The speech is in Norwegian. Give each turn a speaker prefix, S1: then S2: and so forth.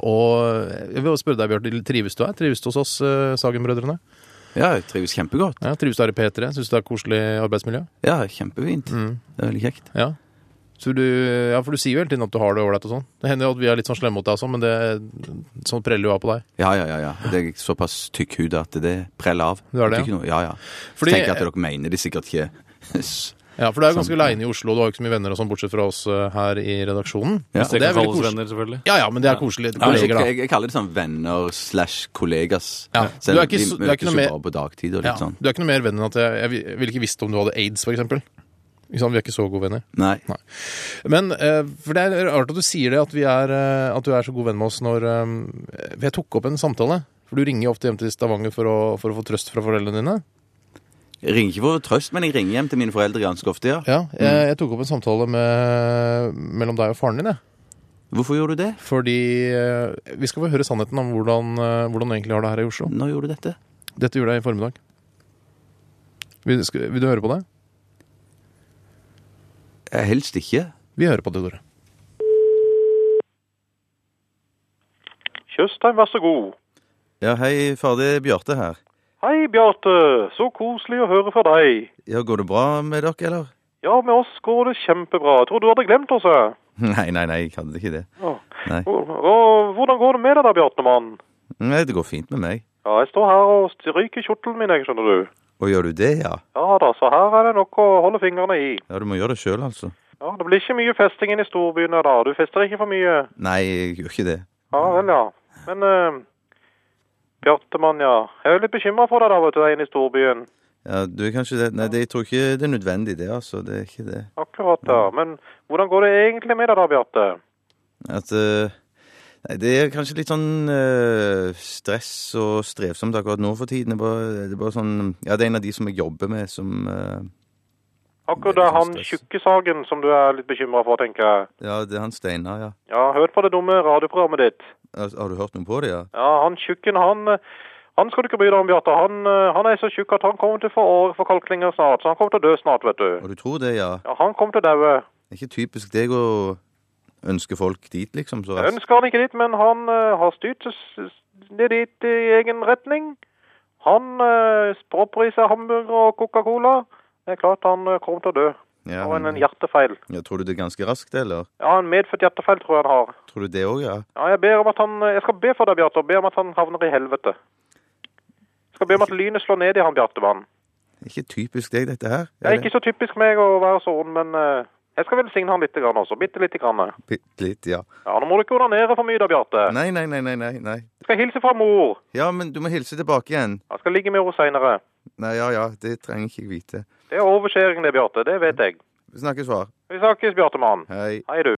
S1: Og eh, jeg vil også spørre deg, Bjarte, trives du her? Trives du hos oss, eh, Sagen-brødrene?
S2: Ja, jeg trives kjempegodt.
S1: Ja, trives du her i P3? Syns du det er koselig arbeidsmiljø?
S2: Ja, kjempefint.
S1: Mm.
S2: Det er veldig kjekt.
S1: Ja. Så du, ja, for du sier jo hele tiden at du har det ålreit og sånn. Det hender jo at vi er litt sånn slemme mot deg også, men det, sånn preller jo av på deg.
S2: Ja, ja, ja. ja. Det er såpass tykkhud at det preller av.
S1: Du har det,
S2: Jeg tykker noe- Ja, ja.
S1: Fordi-
S2: Tenker at dere mener det Sånn. sikkert ikke.
S1: Ja, for du er jo ganske
S2: Samt-
S1: aleine i Oslo, og du har jo ikke så mye venner og sånn, bortsett fra oss eh, her i redaksjonen.
S2: Ja.
S1: Så det er veldig
S3: Stekensalles
S1: koselig.
S3: venner, selvfølgelig.
S1: Ja ja, men det er koselig.
S2: Ja, jeg,
S1: Kolleger, da.
S2: jeg, jeg kaller det sånn venner slash kollegas.
S1: Ja.
S2: Selv
S1: Du
S2: om
S1: er ikke
S2: vi
S1: så- du er ikke
S2: møtes
S1: noe
S2: jo bare
S1: mer-
S2: på dagtid og litt
S1: Ja.
S2: sånn.
S1: Du er ikke noe mer venn enn at jeg, jeg, vil- jeg ville ikke visst om du hadde aids, for eksempel. Ikke sant? Vi er ikke så gode venner.
S2: Nei.
S1: Men eh, for det er rart at du sier det, at, vi er, eh, at du er så god venn med oss når eh, For jeg tok opp en samtale. For du ringer jo ofte hjem til Stavanger for å, for å få trøst fra foreldrene dine.
S2: Jeg ringer ikke for å trøst, men jeg ringer hjem til mine foreldre ganske ofte, ja.
S1: Ja, jeg, jeg tok opp en samtale med, mellom deg og faren din, jeg.
S2: Hvorfor gjør du det?
S1: Fordi eh, Vi skal få høre sannheten om hvordan, eh, hvordan du egentlig har det her i Oslo.
S2: Når gjorde du dette?
S1: Dette gjorde jeg i formiddag. Vil, skal, vil du høre på det?
S2: Eh, Helst ikke.
S1: Vi hører på det, Tore.
S4: Tjøstheim, vær så god.
S2: Ja, hei, far, det er Bjarte her.
S4: Hei, Bjarte. Så koselig å høre fra deg.
S2: Ja, går det bra med dere, eller?
S4: Ja, med oss går det kjempebra. Jeg tror du hadde glemt oss, jeg.
S2: Nei, nei, nei, jeg hadde ikke det.
S4: Ja.
S2: Nei.
S4: Og, og hvordan går det med deg da, Bjartemann?
S2: Nei, det går fint med meg.
S4: Ja, jeg står her og stryker kjortelen min, jeg, skjønner du.
S2: Og gjør du det, ja?
S4: Ja da, så her er det nok å holde fingrene i.
S2: Ja, du må gjøre det sjøl, altså.
S4: Ja, det blir ikke mye festing inn i storbyene da. Du fester ikke for mye.
S2: Nei, jeg gjør ikke det.
S4: Ja vel, ja. Men eh, Bjartemann, ja. Jeg er litt bekymra for deg da, vet du, der inne i storbyen.
S2: Ja, du er kanskje det. Nei, det, jeg tror ikke det er nødvendig, det, altså. Det er ikke det.
S4: Akkurat, ja. Men hvordan går det egentlig med deg da, Bjarte?
S2: At eh, Nei, det er kanskje litt sånn eh, stress og strevsomt akkurat nå for tiden. Det er, bare, det er bare sånn Ja, det er en av de som jeg jobber med, som eh,
S4: Akkurat
S2: Det
S4: det
S2: er
S4: er
S2: litt
S4: han
S2: stress.
S4: tjukkesagen som du er litt bekymra for, tenker jeg.
S2: Ja, det er han Steinar, ja.
S4: Ja, hørt på det dumme radioprogrammet ditt.
S2: Har har du hørt noe på det, ja?
S4: Ja, han tjukken, han eh, Han skal du ikke bry deg om, Bjarte. Han, eh, han er så tjukk at han kommer til å få åreforkalkninger snart. Så han kommer til å dø snart, vet du.
S2: Og du tror det, ja?
S4: Ja, han kommer til å daue.
S2: Det er ikke typisk deg å ønske folk dit, liksom? Så
S4: Jeg
S2: raskt.
S4: ønsker han ikke dit, men han eh, har styrt s- s- ned dit i egen retning. Han eh, propper i seg hamburger og Coca-Cola. Det er klart han eh, kommer til å dø.
S2: Ja,
S4: Av en, en
S2: men,
S4: hjertefeil.
S2: ja, tror du det er ganske raskt, eller?
S4: Ja, en medfødt hjertefeil tror jeg han har.
S2: Tror du det òg, ja?
S4: Ja, jeg ber om at han eh, Jeg skal be for deg, Bjarte, og be om at han havner i helvete. Jeg skal be om at lynet slår ned i han, Bjartemann.
S2: Det er ikke typisk deg, dette her?
S4: Det er ikke så typisk meg å være så ond, men eh, jeg skal velsigne han litt grann også. Bitte lite grann. Ja,
S2: Bitte litt, ja.
S4: nå må du ikke onanere for mye da, Bjarte.
S2: Nei, nei, nei, nei, nei, nei.
S4: Jeg skal hilse fra mor.
S2: Ja, men du må hilse tilbake igjen.
S4: Jeg skal ligge med henne seinere.
S2: Nei, ja, ja, det trenger ikke jeg vite.
S4: Det er overskjæring, det, Bjarte. Det vet jeg.
S2: Vi snakkes, far.
S4: Vi snakkes, Bjartemann.
S2: Hei.
S4: Hei, du.